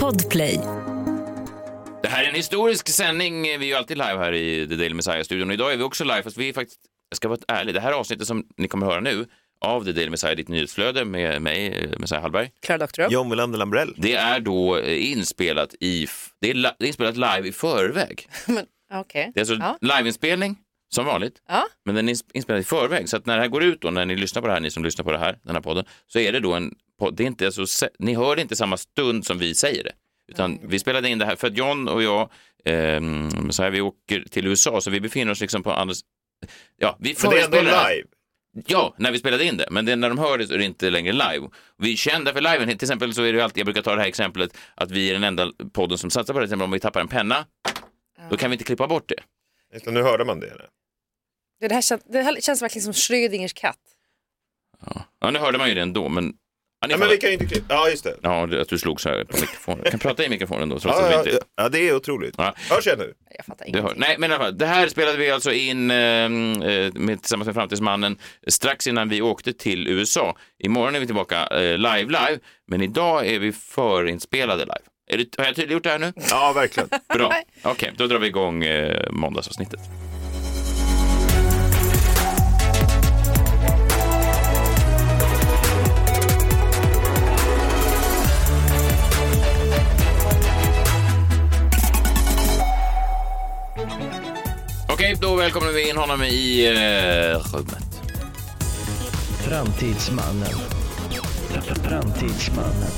Podplay. Det här är en historisk sändning. Vi är ju alltid live här i The Daily Messiah-studion. Idag är vi också live, fast vi är faktiskt, jag ska vara ärlig, det här avsnittet som ni kommer höra nu av The Daily Messiah, ditt nyhetsflöde med mig, eh, Messiah Hallberg, Klara Doktorow. John Wilander Lambrell. det är då eh, inspelat i, f- det är, li- det är inspelat live i förväg. Men, Okej. Det är alltså Ja. liveinspelning, som vanligt, Ja. men den är ins- inspelad i förväg. Så att när det här går ut då, när ni lyssnar på det här, ni som lyssnar på det här, den här podden, så är det då en podd, det är inte så, se- ni hör det inte samma stund som vi säger det. Utan vi spelade in det här, för att John och jag, ehm, så här, vi åker till USA, så vi befinner oss liksom på andra... s- Ja, vi Men det är ändå förespelar det här. live. Ja, när vi spelade in det. Men det, när de hör det så är det inte längre live. Vi känner för liven, till exempel så är det ju alltid, jag brukar ta det här exemplet, att vi är den enda podden som satsar på det. Till exempel om vi tappar en penna, då kan vi inte klippa bort det. Just det, Nu hörde man det. eller? Det, här kän, det här känns verkligen som Schrödingers katt. Ja, nu hörde man ju det ändå, men... Ja, ni Nej, men vi fattar. kan ju inte klippa. Ja, just det. ja det- att du slog så här på mikrofonen. Jag kan prata i mikrofonen då, trots Ja, att ja, vi ja, inte... ja, det är otroligt. Ja. Hörs jag nu? Jag fattar Det hör. ingenting. Nej, men i alla fall, det här spelade vi alltså in eh, med, tillsammans med Framtidsmannen strax innan vi åkte till USA. Imorgon är vi tillbaka eh, live, live, men idag är vi förinspelade live. Är det, har jag tydliggjort det här nu? Ja, verkligen. Bra. Okej, då drar vi igång eh, måndagsavsnittet. Okej, då välkomnar vi in honom i eh, rummet. Framtidsmannen. Framtidsmannen.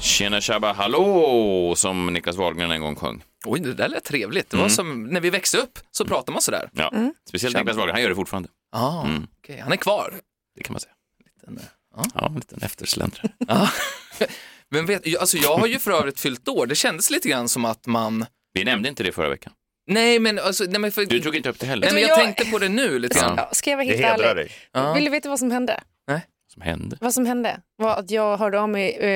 Tjena tjabba hallå, som Niklas Wahlgren en gång sjöng. Oj, det där lät trevligt. Det var som när vi växte upp så pratade man sådär. Ja, speciellt Mm. Tjabba. Niklas Wahlgren, han gör det fortfarande. Ah, okej. Han är kvar. Det kan man säga. Liten, eh, Ja, en liten eftersläntrare. ja. Men vet, jag- alltså jag har ju för övrigt fyllt år. Det kändes lite grann som att man... Vi nämnde inte det förra veckan. Nej, men, alltså, nej, men, för... Du tog inte upp det heller. nej, men jag, Jag- tänkte på det nu lite grann. Ja, ska jag vara Det helt hedrar ärlig? dig. Ja. Vill du veta vad som hände? som hände. Vad som hände var att jag hörde av mig, eh,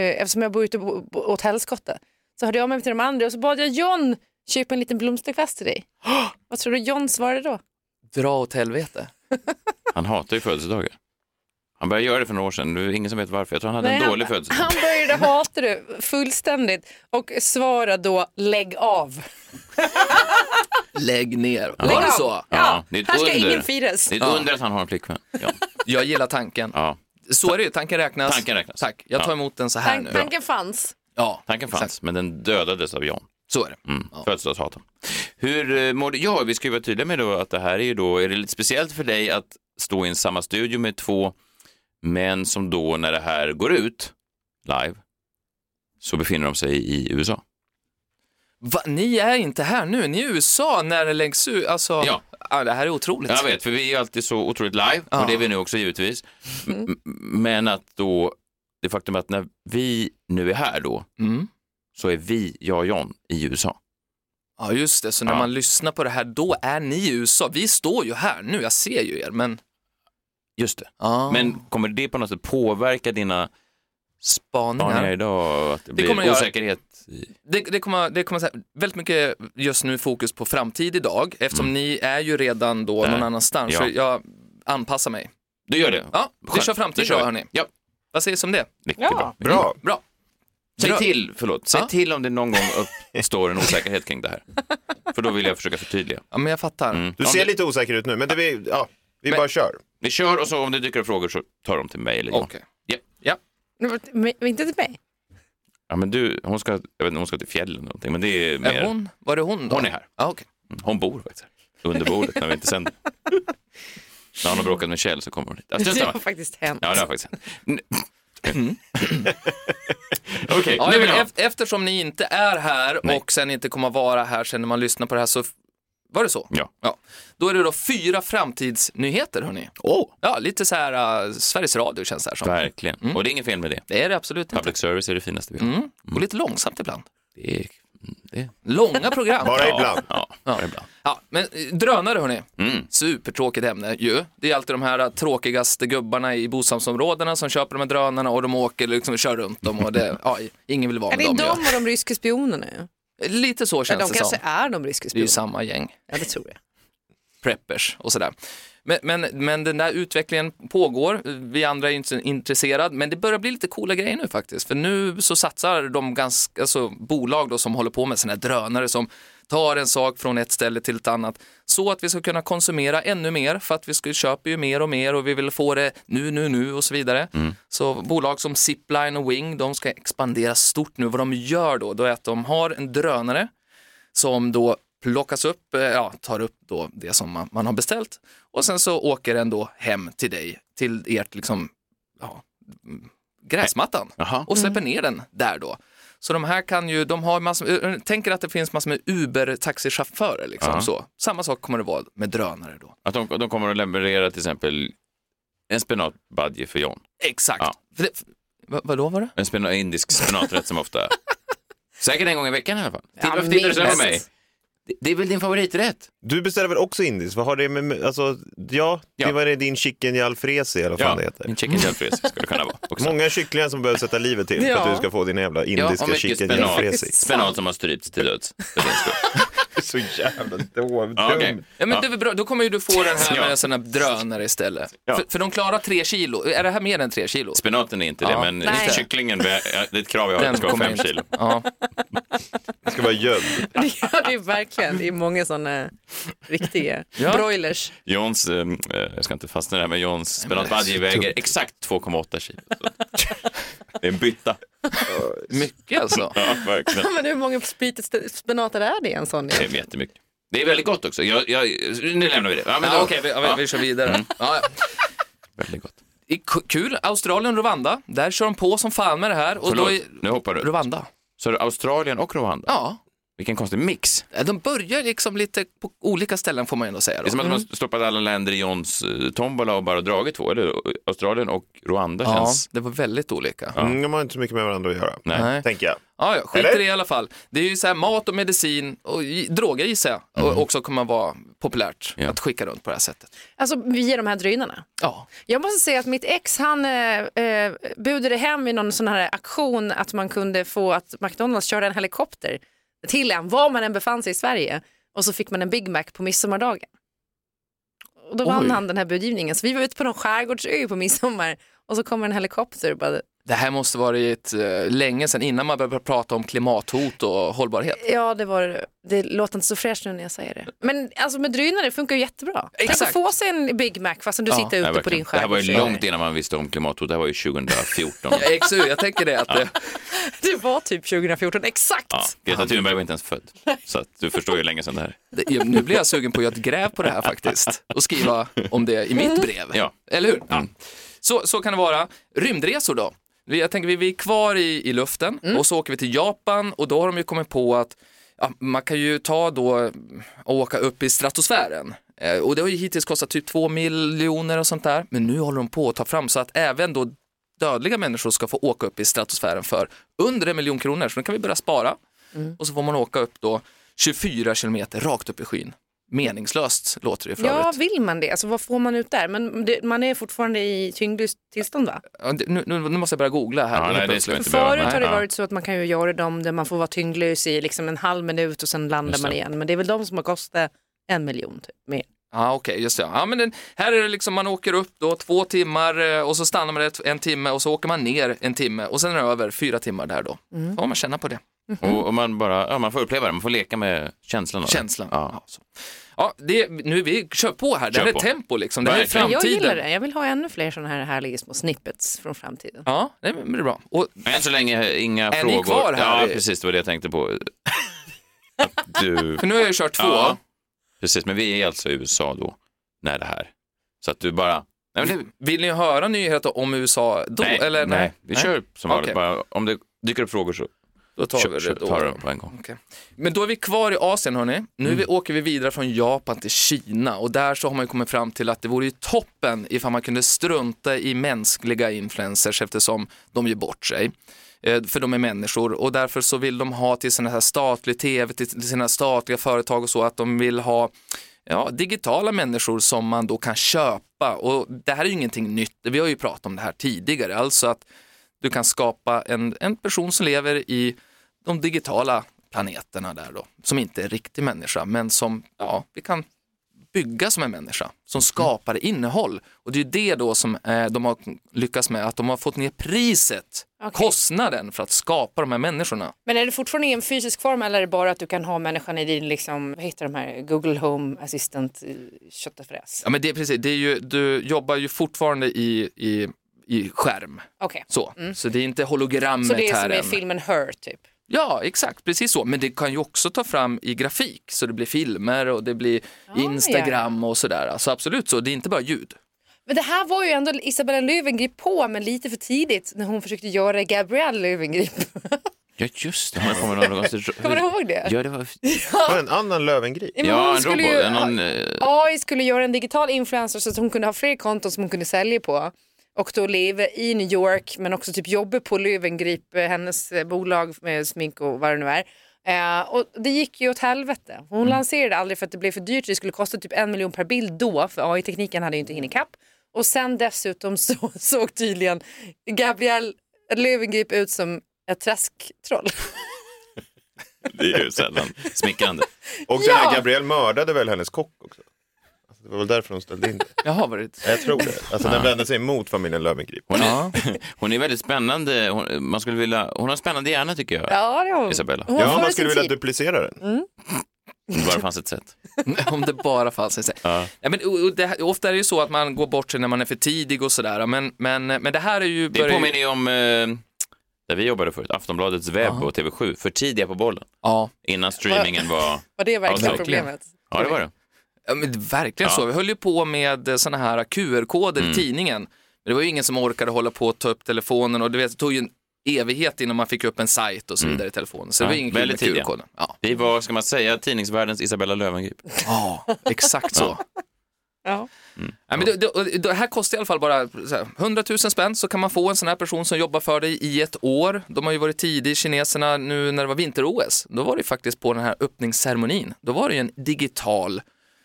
eh, eftersom jag bor ute bo- bo- åt helskotta, så hörde jag av mig till de andra och så bad jag John köpa en liten blomsterkvast till dig. vad tror du John svarade då? Dra åt helvete. Han hatar ju födelsedagar. Han började göra det för några år sedan. Det är ingen som vet varför. Jag tror han hade en Nej, dålig han, födelsedag. han började hata det fullständigt och svarade då lägg av. Lägg ner. Lägg Var det av. så? Ja, Ja, det är ett här ska under. ingen firas. Det är ett Ja. under att han har en flickvän. Ja. Jag gillar tanken. Ja. Så är det ju. Tanken räknas. Tanken räknas. Tack. Jag tar Ja. emot den så här Tan- nu. tanken fanns. Ja, Tanken fanns, exakt. men den dödades av Jan. Så är det. Mm. Ja. Födelsedagshaten. Hur eh, mår du? Ja, vi ska ju vara tydliga med då att det här är ju då, är det lite speciellt för dig att stå i en samma studio med två män som då när det här går ut live så befinner de sig i USA. Va, ni är inte här nu. Ni är i USA när det läggs ut. Alltså, Ja. det här är otroligt. Jag vet, för vi är ju alltid så otroligt live Ja. Mm. och det är vi nu också givetvis. M- m- Men att då, det faktum att när vi nu är här då, Mm. så är vi, jag och John, i USA. Ja just det, så när Ja. man lyssnar på det här då är ni i USA. Vi står ju här nu, jag ser ju er men... Just det. Ja, Men kommer det på något sätt påverka dina spaningar. spaningar idag? Att det blir kommer det göra. osäkerhet? i- Det, det kommer, det kommer så här, väldigt mycket just nu fokus på framtid idag eftersom ni är ju redan då Mm. Där. någon annanstans. Ja. Så jag anpassar mig. Du gör det? Ja, vi Skönt. kör framtid Då kör idag vi. hörni. Ja, Vad sägs om det? mycket Ja. bra. Bra. Bra. Säg Bra. till, förlåt, säg Ja. till om det någon gång uppstår en osäkerhet kring det här. För då vill jag försöka förtydliga. Ja men jag fattar. Mm. Du Om ser det- lite osäker ut nu, men det vi, ja, vi Men- bara kör. Vi kör och så om det dyker upp frågor så tar de till mig eller John. Okej. Ja. Ja. Men, men inte till mig. Ja, men du, hon ska, jag vet inte, hon ska till fjällen eller någonting, men det är mer... Är hon, var det hon då? Hon är här. Ja, okej. Mm, Hon bor faktiskt här. Under bordet när vi inte sänder. när hon har bråkat med Kjell så kommer hon hit. Ja, strunt Det samma. har faktiskt hänt. ja det har faktiskt hänt. N- Okej, Ja, nu men vill jag. ef- eftersom ni inte är här Nej. och sen inte kommer vara här sen när man lyssnar på det här så, f- var det så? Ja. Då är det då fyra framtidsnyheter hörni. Åh, Ja, lite så här eh, Sveriges Radio känns det här som. verkligen. Och det är inget fel med det. Det är det absolut inte. Public service är det finaste vi har. Mm. Och lite långsamt ibland. Det är... mm, Det... Långa program. Bara Ja, ibland. Ja, bara ibland. Ja, men eh, drönare hörni. Mm. Supertråkigt ämne ju. Det är alltid de här eh, tråkigaste gubbarna i bostadsområdena som köper de här drönarna och de åker liksom och kör runt dem och det, ja, ingen vill vara Är med det dem. de ju. och de ryska spionerna? ju? Lite så Ja, känns de det som. kanske är de ryska Det är ju spionerna. samma gäng. Ja, det tror jag. preppers och sådär. Men, men, men den där utvecklingen pågår, vi andra är inte intresserade, men det börjar bli lite coola grejer nu faktiskt. För nu så satsar de ganska, alltså, bolag då som håller på med sådana här drönare som tar en sak från ett ställe till ett annat så att vi ska kunna konsumera ännu mer för att vi ska, köper ju mer och mer och vi vill få det nu, nu, nu och så vidare. Så bolag som Zipline och Wing, de ska expandera stort nu. Vad de gör då, då är att de har en drönare som då plockas upp, eh, ja, tar upp då det som man, man har beställt och sen så åker den då hem till dig, till ert liksom, ja, mm, gräsmattan Jaha. och släpper ner den där då. Så de här kan ju, de har massor, eh, tänker att det finns massor med Uber-taxichaufförer liksom Ja. så. Samma sak kommer det vara med drönare då. Att de, de kommer att leverera till exempel en spenatbadge för John. Exakt. Ja. För det, vad, vadå var det? En spena, indisk spenaträtt som ofta... Säkert en gång i veckan i alla fall. Titta, varför men tittar du så här på minst. mig? Det, det är väl din favoriträtt? Du beställer väl också indiskt? Vad har det med- med, alltså, ja, Ja. det var det din chicken i alfresi eller vad fan det heter. Min chicken jalfrezi skulle det kunna vara också. Många kycklingar som behöver sätta livet till för Ja. att du ska få din jävla Ja, indiska och mycket chicken i spenat. alfresi. Spenat som har strypts till döds. för din skull. Så jävla Ja, dumt. okej. Ja, men det är väl bra. Då kommer ju du få den här med Ja. en sån här drönare istället. För, för de klarar tre kilo. Är det här mer än tre kilo? Spenaten är inte Ja. det, men Nej. kycklingen, det är ett krav jag har, Den det ska vara kommer fem inte. kilo. Ja. Det ska vara gödd. Ja, det är verkligen. Det är många sådana riktiga Ja. broilers. Johns, eh, jag ska inte fastna i det här, men Johns spenatbadge väger exakt 2,8 kilo. Så. Det är en bytta. Mycket alltså. Ja, verkligen. Men hur många sp- spenater är det i en sån? Det är jättemycket. Det är väldigt gott också. Jag, jag, nu lämnar vi det. Ja, men Ja, Mm. då- Okej, vi, ja, vi, vi kör vidare. Ja. Väldigt gott. Det är ku- Kul. Australien och Rwanda, där kör de på som fan med det här. Och då Förlåt, är nu hoppar du. Rwanda. Så är det Australien och Rwanda? Ja, Vilken konstig mix. de börjar liksom lite på olika ställen får man ändå säga. Det är Då. Mm. som att de har stoppat alla länder i Johns eh, tombola och bara dragit två. Eller Australien och Rwanda Ja, känns... det var väldigt olika. Mm, de har inte så mycket med varandra att göra, Nej. Nej. tänker jag. Ja, ja, skit i Eller? det i alla fall. Det är ju så här mat och medicin och i- droger gissar jag och också kommer vara populärt Ja. att skicka runt på det här sättet. Alltså via de här drynarna. Ja, Jag måste säga att mitt ex han eh, eh, budade hem vid någon sån här aktion att man kunde få att McDonalds körde en helikopter till en var man än befann sig i Sverige och så fick man en Big Mac på midsommardagen. Och då vann Oj. han den här budgivningen så vi var ute på någon skärgårdsö på midsommar och så kommer en helikopter och bara, det här måste varit eh, länge sedan innan man började prata om klimathot och hållbarhet. ja det var det låter inte så fräscht nu när jag säger det. Men alltså med drynare det funkar ju jättebra. Tänk Exakt. att få sig en Big Mac fastän du Ja, sitter Nej, ute på verkligen. din det här var ju skärgårdsö. långt innan man visste om klimathot. Det här var ju 2014. Ja, Exu, jag tänker det att det, Det var typ 2014, exakt. Ja, Greta Thunberg var inte ens född. Så att du förstår ju hur länge sedan det här är. det, nu blir jag sugen på att göra ett gräv på det här faktiskt och skriva om det i mitt brev. Ja. Eller hur? Ja. Så, så kan det vara. Rymdresor då? Vi- Jag tänker vi, vi är kvar i, i luften och så åker vi till Japan och då har de ju kommit på att ja, man kan ju ta då och åka upp i stratosfären. Eh, Och det har ju hittills kostat typ 2 miljoner och sånt där. Men nu håller de på att ta fram så att även då dödliga människor ska få åka upp i stratosfären för under en miljon kronor. Så nu kan vi börja spara och så får man åka upp då 24 kilometer rakt upp i skyn. Meningslöst låter det för Ja, övrigt. vill man det? Alltså, vad får man ut där? Men det, man är fortfarande i tyngdlyst tillstånd va? Ja, det- Nu, nu, nu måste jag börja googla här. Ja, nej, Helt det plötsligt. ska vi inte behöva. Förut har det Nej. varit så att man kan ju göra dem där man får vara tyngdlös i liksom en halv minut och sen landar Just man det. igen. Men det är väl de som har kostat en miljon typ, mer. Ja, okej, just det. Ja, men den, här är det liksom, man åker upp då två timmar eh, och så stannar man ett, en timme och så åker man ner en timme och sen är det över fyra timmar där då. Mm. Får man känna på det, Och, och man, bara, ja, man får uppleva det, man får leka med känslan. av det. känslan. Ja. Ja. så. ja, det, nu vi kör på här, det Kör här är på. tempo liksom, det här är Verkligen. Men framtiden. jag gillar det, jag vill ha ännu fler sådana här härliga små snippets från framtiden. Ja, nej, men det är bra. Och, Men Än så länge eh, inga Är ni frågor. kvar här? Ja, precis, det var det jag tänkte på. Att du... för nu har jag kört två. Ja. Precis, men vi är alltså i USA då, när det här. Så att du bara... Nej, men det, Vill ni höra nyheter om USA då? nej, eller, nej. vi kör som vanligt. Okej. Bara, om det dyker upp frågor så Då tar vi kör, det kör, då. tar vi dem på en gång. Okej. Men då är vi kvar i Asien hörni. Nu vi, åker vi vidare från Japan till Kina och där så har man ju kommit fram till att det vore ju toppen ifall man kunde strunta i mänskliga influencers eftersom de gör bort sig. Eh, För de är människor och därför så vill de ha till sina här statlig tv, till till sina statliga företag och så att de vill ha ja, digitala människor som man då kan köpa. Och det här är ju ingenting nytt, vi har ju pratat om det här tidigare, alltså att du kan skapa en, en person som lever i de digitala planeterna där då, som inte är riktig människa, men som ja, vi kan bygga som en människa, Mm. som skapar innehåll. Och det är ju det då som eh, de har lyckats med, att de har fått ner priset, Okej. kostnaden för att skapa de här människorna. Men är det fortfarande i en fysisk form eller är det bara att du kan ha människan i din, liksom, vad heter de här, Google Home Assistant eh, köttfräs? Ja men det är precis, det är ju, du jobbar ju fortfarande i, i, i skärm. Okej, Så. så det är inte hologrammet Mm. så det är här som i än. filmen Her typ? Ja, exakt, precis så. Men det kan ju också ta fram i grafik, så det blir filmer och det blir ja. Instagram och sådär. Så absolut så, det är inte bara ljud. Men det här var ju ändå Isabella Löwengrip på, men lite för tidigt när hon försökte göra Gabrielle Löwengrip. Ja, just det. Hon har kommit med någon konstig- Kommer du ihåg det? Ja, det var... Var det en annan Löwengrip? Nej, men hon ja en skulle robot. ju- en Någon, eh, AI skulle göra en digital influencer så att hon kunde ha fler konton som hon kunde sälja på och då leva i New York men också typ jobba på Löwengrip, eh, hennes eh, bolag med smink och vad det nu är. Eh, och det gick ju åt helvete. Hon lanserade aldrig för att det blev för dyrt. Det skulle kosta typ en miljon per bild då för AI-tekniken hade ju inte hinnit kapp. Och sen dessutom så såg tydligen Gabrielle Löwengrip ut som ett träsktroll. det är ju sällan smickrande. Och den Ja. här Gabriel mördade väl hennes kock också? Alltså, det var väl därför de ställde in det. Jaha, var det... Jag tror det. Alltså den vände sig emot familjen Löwengrip. Hon är, Ja. hon är väldigt spännande. Hon, man skulle vilja, hon har en spännande hjärna tycker jag. Ja, det har hon. Isabella. hon var Ja, före man sin skulle vilja tid. Mm. duplicera den. Om det bara fanns ett sätt. Om det bara fanns en säng. Ja. Ja, men, och- och det, här- ofta är det ju så att man går bort sig när man är för tidig och sådär. Men, men, men det här är ju... Det påminner ju om eh, där vi jobbade förut, Aftonbladets webb och TV7. För tidiga på bollen. Ja, Innan streamingen var... Var det verkligen Ja, verkligen. problemet? Ja, det var det. Ja, men verkligen Ja. Mm. så. Vi höll ju på med sådana här QR-koder i tidningen. Men det var ju ingen som orkade hålla på och ta upp telefonen och du vet, det tog ju en evighet innan man fick upp en sajt och så vidare i telefonen. Så det Mm. Ja, var ju ingen kul med väldigt tidiga. QR-koden. Ja. Vi var, ska man säga, tidningsvärldens Isabella Löwengrip. ja, exakt så. Ja. Ja, men det, det, och det här kostar i alla fall bara så här, 100 000 spänn så kan man få en sån här person som jobbar för dig i ett år. De har ju varit tidig, kineserna, nu när det var vinter-OS. Då var det ju faktiskt på den här öppningsceremonin. Då var det ju en digital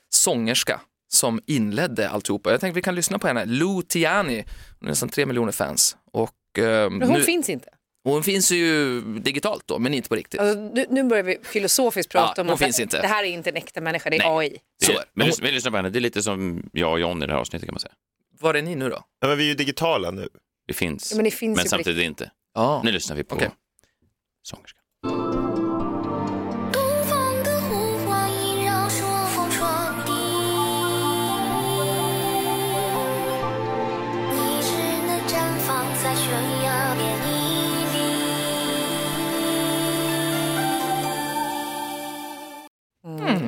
sångerska som inledde alltihopa. Jag tänkte vi kan lyssna på henne, Lou Tiani. Hon har nästan tre miljoner fans. Och, eh, Men hon nu, finns inte. hon finns ju digitalt då, men inte på riktigt. Alltså, nu, nu börjar vi filosofiskt prata Ja, om hon att finns det, inte. det här är inte en äkta människa, det är Nej. AI. Det- Så är det. Men lys- vi lyssnar på henne. Det är lite som jag och John i det här avsnittet kan man säga. Var är ni nu då? Ja, men vi är ju digitala nu. Det finns, Ja, men det finns ju på samtidigt inte. Ja. Nu lyssnar vi på Okej. sångerskan. 东方的呼唤萦绕朔风传递，你只能绽放在悬崖边屹立。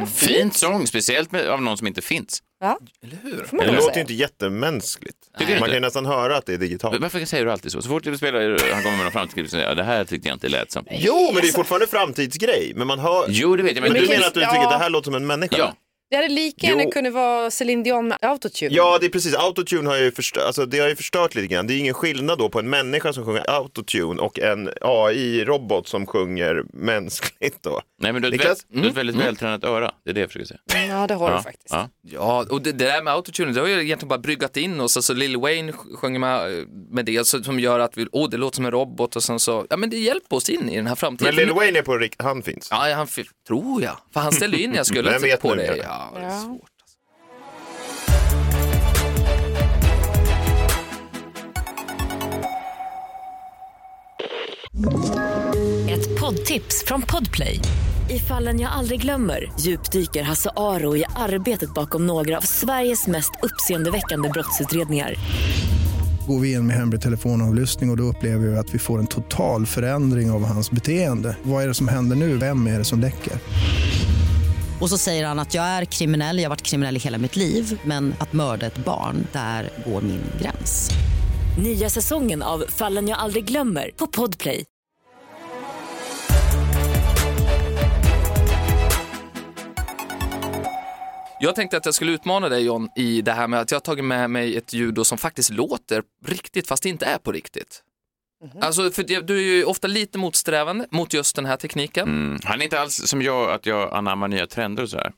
Fint sång, speciellt med, av någon som inte finns. Ja? Eller hur? Får man Det väl låter ju säga. inte jättemänskligt. Tycker du Man kan ju inte? nästan höra att det är digitalt. Varför säger du alltid så? Så fort du spelar, han kommer med någon framtidsklipp, så säger jag, det här tyckte jag inte lät som. Jo, men det är Alltså- fortfarande framtidsgrej. Men man hör... Jo, det vet jag. Men Men du du, menar att du Ja. tycker att det här låter som en människa? ja, Det hade lika Jo. gärna kunnat vara Céline Dion med autotune. Ja, det är precis. Autotune har ju, förstö- alltså, det har ju förstört lite grann. Det är ingen skillnad då på en människa som sjunger autotune och en AI-robot som sjunger mänskligt då. Nej, men du har ett, väl, Niklas? du har Mm. ett väldigt vältränat öra. Det är det jag försöker säga. ja det har du faktiskt. Ja. Ja, och det, det där med autotune, det har ju egentligen bara bryggat in oss. Alltså Lil Wayne sj- sjunger med, med det så, som gör att vi, åh det låter som en robot och sen så, ja men det hjälper oss in i den här framtiden. Men Lil Wayne är på rikt- han finns. Ja, han fi- tror jag. För han ställde ju in jag skulle Vem vet på nu? det. Ja, det är Ja. svårt. alltså. Ett poddtips från Podplay. I fallen jag aldrig glömmer djupdyker Hasse Aro i arbetet bakom några av Sveriges mest uppseendeväckande brottsutredningar. går vi in med hemlig telefonavlyssning och, och då upplever vi att vi får en total förändring av hans beteende. Vad är det som händer nu? Vem är det som läcker? Och så säger han att jag är kriminell, jag har varit kriminell i hela mitt liv men att mörda ett barn, där går min gräns. Nya säsongen av Fallen jag aldrig glömmer på Podplay. Jag tänkte att jag skulle utmana dig John i det här med att jag har tagit med mig ett ljud då som faktiskt låter riktigt fast det inte är på riktigt. Alltså, för det- du är ju ofta lite motsträvande mot just den här tekniken. Mm. Han är inte alls som jag, att jag anammar nya trender och sådär.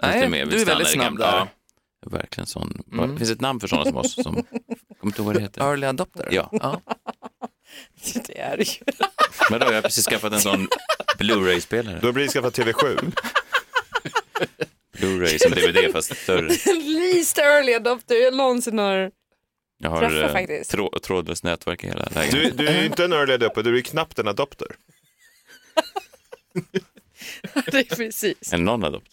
Han Nej, lite mer, vi du är stannar väldigt i snabb gamla- där. Mm. Ja, jag är verkligen sån. Vad- Det finns ett namn för sådana som oss. Som... Kommer inte ihåg vad det heter. Early adopter. Ja. Det är det ju. Men då har jag precis skaffat en sån Blu-ray-spelare. Då blir det skaffat TV7. Blu-ray som DVD fast större. Least early adopter jag någonsin har. Jag har Träffar eh, faktiskt. trå- trådlöst nätverk i hela Du, lägenheten. du är ju inte en early adopter, du är ju knappt en adopter. Det är precis. En non-adopter.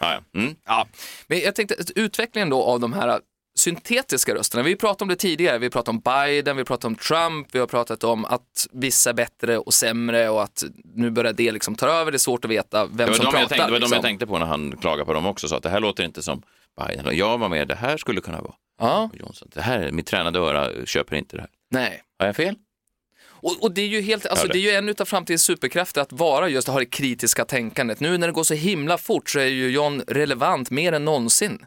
Ah, ja. mm. Ja, men jag tänkte att utvecklingen då av de här syntetiska rösterna. Vi pratade om det tidigare. Vi pratade om Biden, vi pratade om Trump, vi har pratat om att vissa är bättre och sämre och att nu börjar det liksom ta över. Det är svårt att veta vem Det var, de som pratar. jag tänkte, det var de liksom. jag tänkte på när han klagade på dem också, sa att det här låter inte som Biden. Och jag var med, det här skulle kunna vara Ja, Johnson. Det här, mitt tränade öra köper inte det här. nej. Har jag fel? Och, och det är ju helt, alltså Ja, det det. är ju en utav framtidens superkrafter att vara just ha det kritiska tänkandet. Nu när det går så himla fort så är ju John relevant mer än någonsin.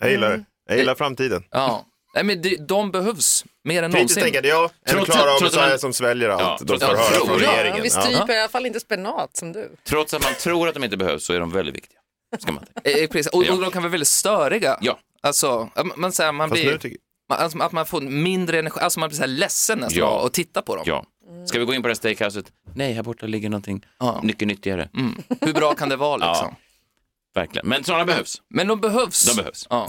Jag gillar det. Jag gillar framtiden. Ja, nej men de, de behövs mer än Kritiskt någonsin. tänkande, ja. En Trots- Klara och trots att Messiah man- som sväljer allt Ja, de trots får att- höra från tror jag. Ja, regeringen. vi Ja. stryper i alla fall inte spenat som du. Trots att man tror att de inte behövs så är de väldigt viktiga. Ska man tänka. Eh, precis. Och, Ja. och de kan vara väldigt störiga. Ja. Alltså, att man, man, så här, man Fast nu blir, tycker man, alltså, att man får mindre energi, alltså man blir så här ledsen nästan Ja. av att titta på dem. ja. Ska vi gå in på det här steakhouset? Nej, här borta ligger någonting Ja. mycket nyttigare. Mm. Hur bra kan det vara Ja. liksom? Verkligen. Men sådana behövs. Men de behövs. De behövs. Ja.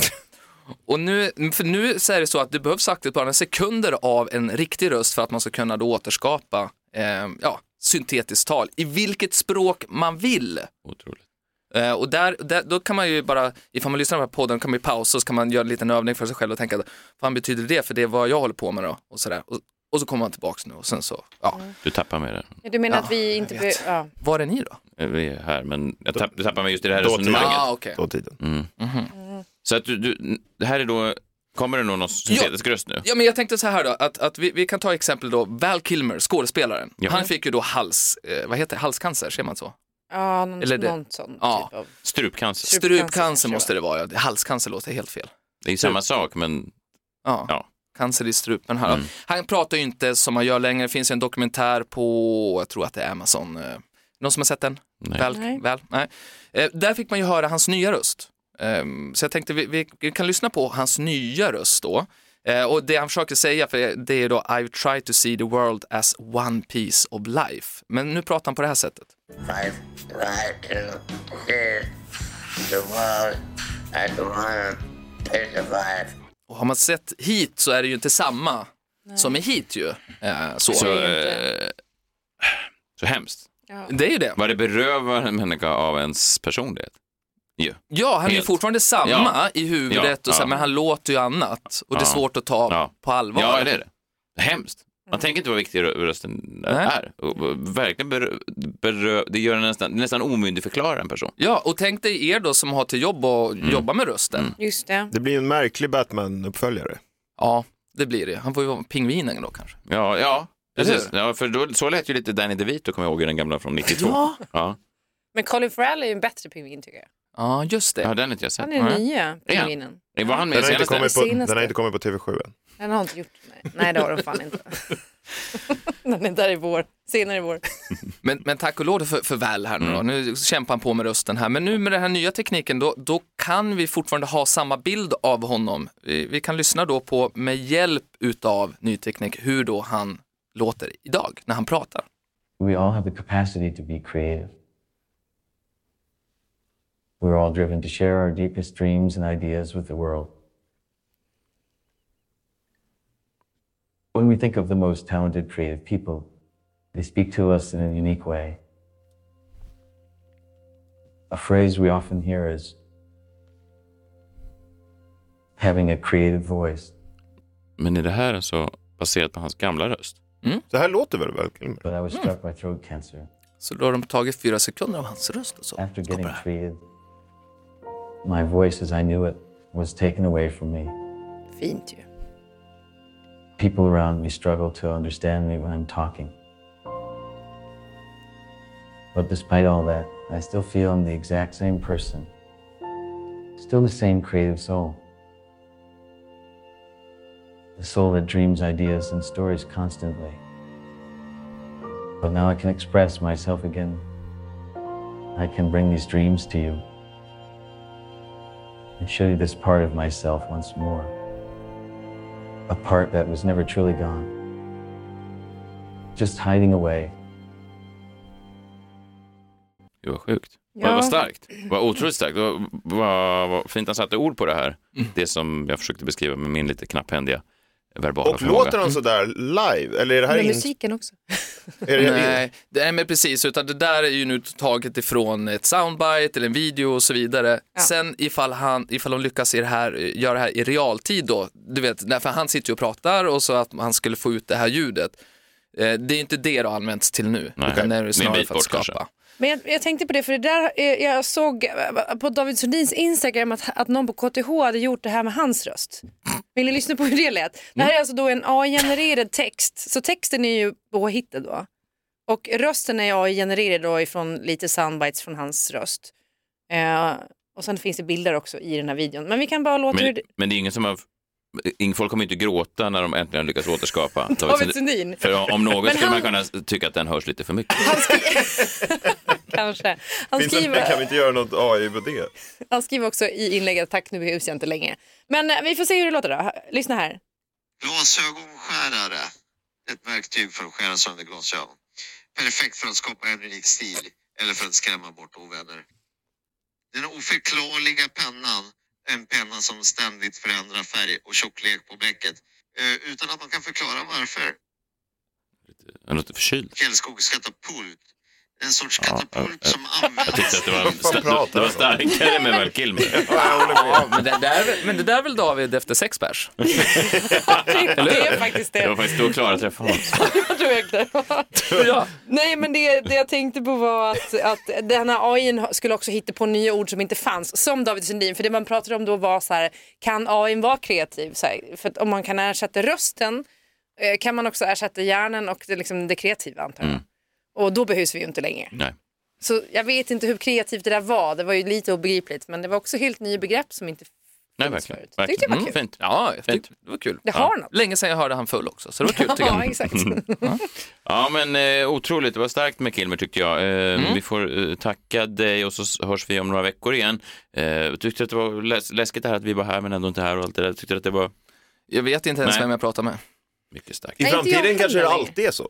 Och nu, för nu så är det så att det behövs faktiskt bara sekunder av en riktig röst för att man ska kunna då återskapa eh, ja, syntetiskt tal i vilket språk man vill. Otroligt. Eh, och där, där, då kan man ju bara, ifall man lyssnar på den här podden, kan man ju pausa och så kan man göra en liten övning för sig själv och tänka, vad fan betyder det? För det är vad jag håller på med då. Och, sådär. och, och så kommer man tillbaks nu och sen så, ja. Du tappar mig där. Du menar Ja, att vi inte... jag Be- vet. ja. Var är ni då? Vi är här, men jag tapp, du tappar mig just i det här Dåtid. resonemanget. Ah, okej. jag. Dåtiden. Mm. Så att du, du, det här är då, kommer det nog någon syntetisk röst nu? Ja, men jag tänkte så här då, att, att vi, vi kan ta exempel då, Val Kilmer, skådespelaren. Ja. Han fick ju då hals, eh, vad heter det, halscancer, ser man så? Ja, någon, Eller det- någon sån Ja. typ av... Strupcancer. Strup- Strupcancer kanske, Strupcancer måste det vara, ja. halscancer låter helt fel. Det är ju samma sak, men Ja. Ja. Mm. Cancer i strupen. Här. Han pratar ju inte som han gör längre. Det finns ju en dokumentär på, jag tror att det är Amazon. eh, Någon som har sett den? Nej. Väl, Nej. Väl? Nej. Eh, Där fick man ju höra hans nya röst. Ehm, Så jag tänkte vi, vi kan lyssna på hans nya röst då. Eh, Och det han försöker säga, för det är då I've tried to see the world as one piece of life. Men nu pratar han på det här sättet. I've tried to see the world as one piece of life. Och har man sett hit så är det ju inte samma som är hit ju. Eh, Så. så, är inte- eh, så hemskt. Det är ju det. Vad det berövar en människa av ens personlighet. Ju. Ja, han är ju Helt. fortfarande samma Ja. i huvudet, Ja, och så, här, ja. men han låter ju annat. Och det är Ja. svårt att ta Ja. på allvar. Mm. Ja, det är det. Hemskt. Man tänker inte vad viktig rö- rösten Nej. är. Och, och, verkligen berö, berö, det gör en nästan, nästan omyndigförklarar en person. Ja, och tänk dig er då som har till jobb att Mm. jobba med rösten. Just det. Det blir ju en märklig Batman-uppföljare. Ja, det blir det. Han får ju vara pingvinen då kanske. Ja, ja Eller precis. Ja, för då, så lät ju lite Danny DeVito, kommer jag ihåg, i den gamla från 92. Ja. ja. Men Colin Farrell är ju en bättre pingvin tycker jag. Ja, just Ja, det. den har inte jag sett. Han är den nya pingvinen. Nej. Var han med Den i har, inte senaste? kommit på, den Senaste. har inte kommit på TV7 än. Den har inte gjort nej. nej, det har de fan inte. den är där i vår, senare i vår. Men, men tack och lov för, för väl här nu Mm. då. Nu kämpar han på med rösten här. Men nu med den här nya tekniken då, då kan vi fortfarande ha samma bild av honom. Vi, vi kan lyssna då på, med hjälp utav ny teknik, hur då han låter idag när han pratar. We all have the capacity to be creative. We're all driven to share our deepest dreams and ideas with the world. When we think of the most talented creative people, they speak to us in a unique way. A phrase we often hear is having a creative voice, Men är det här alltså baserat på hans gamla röst? Så här låter väl Val Kilmer? but I was struck by throat cancer. Så då har de tagit fyra sekunder av hans röst och så. After Stoppar getting det här. treated, my voice as I knew it was taken away from me. Fint ju. People around me struggle to understand me when I'm talking. But despite all that, I still feel I'm the exact same person. Still the same creative soul. The soul that dreams ideas and stories constantly. But now I can express myself again. I can bring these dreams to you and show you this part of myself once more a part that was never truly gone, just hiding away. Det var sjukt. Vad- Vad starkt. Vad otroligt starkt. Vad, vad, vad fint han satte ord på det här. Det som jag försökte beskriva med min lite knapphändiga verbala Och förmåga. låter han sådär live? Eller är det här Med in... musiken också. är det, Nej, det är men precis, utan det där är ju nu taget ifrån ett soundbite eller en video och så vidare. Sen ifall, han, ifall de lyckas i det här, göra det här i realtid då, du vet, när- för han sitter ju och pratar och så att han skulle få ut det här ljudet. Eh, Det är ju inte det det har använts till nu, Nej. utan det Med är en snarare bit för att bort kanske. skapa. Men jag, jag tänkte på det, för det där, eh, jag såg eh, på David Sundins Instagram att, att någon på KTH hade gjort det här med hans röst. Vill ni lyssna på hur det lät? Det här är alltså då en AI-genererad text, så texten är ju påhittad då. Och rösten är AI-genererad då ifrån lite soundbites från hans röst. Eh, och sen finns det bilder också i den här videon. Men vi kan bara låta hur Men, det- men det är ingen som har... ing- Folk kommer inte gråta när de äntligen lyckas återskapa Alltså, David Sundin, För om något skulle han- man kunna tycka att den hörs lite för mycket. kanske. Han finns en, skriver... kan vi inte göra något AI på det? Han skriver också i inlägget tack nu behövs jag inte längre. Men eh, vi får se hur det låter då. Lyssna här. Glasögonskärare. Ett verktyg för att skära sönder glasögon. Perfekt för att skapa en unik stil eller för att skrämma bort oväder. Den oförklarliga pennan, en penna som ständigt förändrar färg och tjocklek på bläcket eh, utan att man kan förklara varför. Han låter förkyld. Fjällskogs katapult. En sorts Ja, katapult ja, som används... Jag tyckte att det var, Vad fan sta- det var pratar han om? starkare med Val Kilmer. Ja, men, det där, är väl- men det där är väl David efter sex pers? det är faktiskt Det var det. faktiskt då Klara träffade honom. Jag tror jag inte. Ja. Nej men det, det jag tänkte på var att, att den här AIn skulle också hitta på nya ord som inte fanns. Som David Sundin, för det man pratade om då var så här, kan AIn vara kreativ? Så här, för att om man kan ersätta rösten eh, kan man också ersätta hjärnan och det, liksom, det kreativa antar jag. Och då behövs vi ju inte längre. Nej. Så jag vet inte hur kreativt det där var, det var ju lite obegripligt men det var också helt nya begrepp som inte Nej, finns verkligen. förut. Tyckte jag verkligen. var Mm, kul. fint. Ja, jag tyckte, det var kul. Det har något. Länge sedan jag hörde han full också, så det var kul tycker Ja, jag. exakt. Mm. Ja, men eh, otroligt. Det var starkt med Kilmer tyckte jag. Eh, Vi får eh, tacka dig och så s- hörs vi om några veckor igen. Eh, tyckte att det var läs- läskigt det här att vi var här men ändå inte här och allt det där. Tyckte att det var Jag vet inte ens Nej. vem jag pratar med. mycket starkt. I Nej, inte jag framtiden kanske det heller. alltid är så.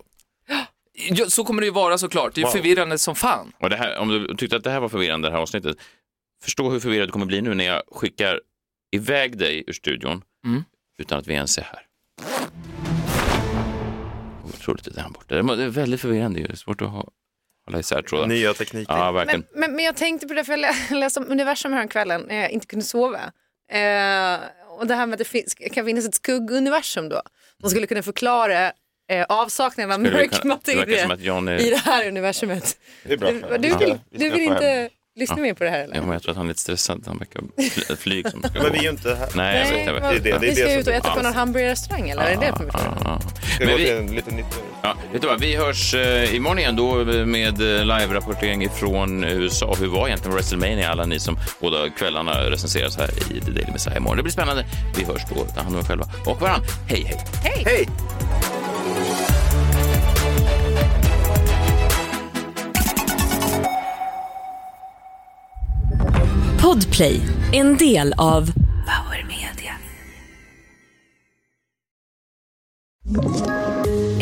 Ja, så kommer det ju vara såklart, det är ju Wow. förvirrande som fan. Och det här, om du tyckte att det här var förvirrande, det här avsnittet, förstå hur förvirrad du kommer bli nu när jag skickar iväg dig ur studion Mm. utan att vi ens är här. Otroligt, det är han borta. Det är väldigt förvirrande ju. Det är svårt att ha, hålla isär trådar. Nya tekniker. Ja, verkligen. Men, men, men jag tänkte på det, för jag lä- läste om universum häromkvällen när jag inte kunde sova. Eh, och det här med att det finns, kan finnas ett skugguniversum då. De skulle kunna förklara eh, avsaknaden av Skulle vi mörk kunna- det verkar som materia att John i är... det här universumet. Det är bra. Du, Vi du ska- vill, vi ska du vill få hem. inte lyssna mer på det här eller? Ja, men jag tror att han är lite stressad. Han verkar fly- flyg som ska Men gå. vi är ju inte här. Nej, jag vet, jag vet. vad- det är det vi ska som ut och är- äta på någon hamburgerrestaurang eller? Är det det som är frågan? Ja. Ska vi Men gå till vi, en liten nytt... ja, vet du vad, vi hörs eh, imorgon igen då med eh, live-rapportering från USA. Hur var egentligen WrestleMania? Alla ni som båda kvällarna recenseras här i The Daily Messiah imorgon. Det blir spännande. Vi hörs då. Ta hand om er själva och varandra. Hej, hej! Podplay, en del av Power Media.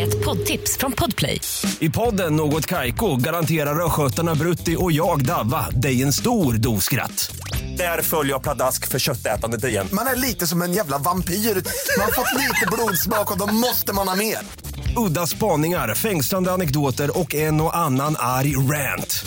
Ett poddtips från Podplay. I podden Något Kaiko garanterar östgötarna Brutti och jag, Davva, dig en stor dos skratt. Där följer jag pladask för köttätandet igen. Man är lite som en jävla vampyr. Man har fått lite blodsmak och då måste man ha mer. Udda spaningar, fängslande anekdoter och en och annan arg rant.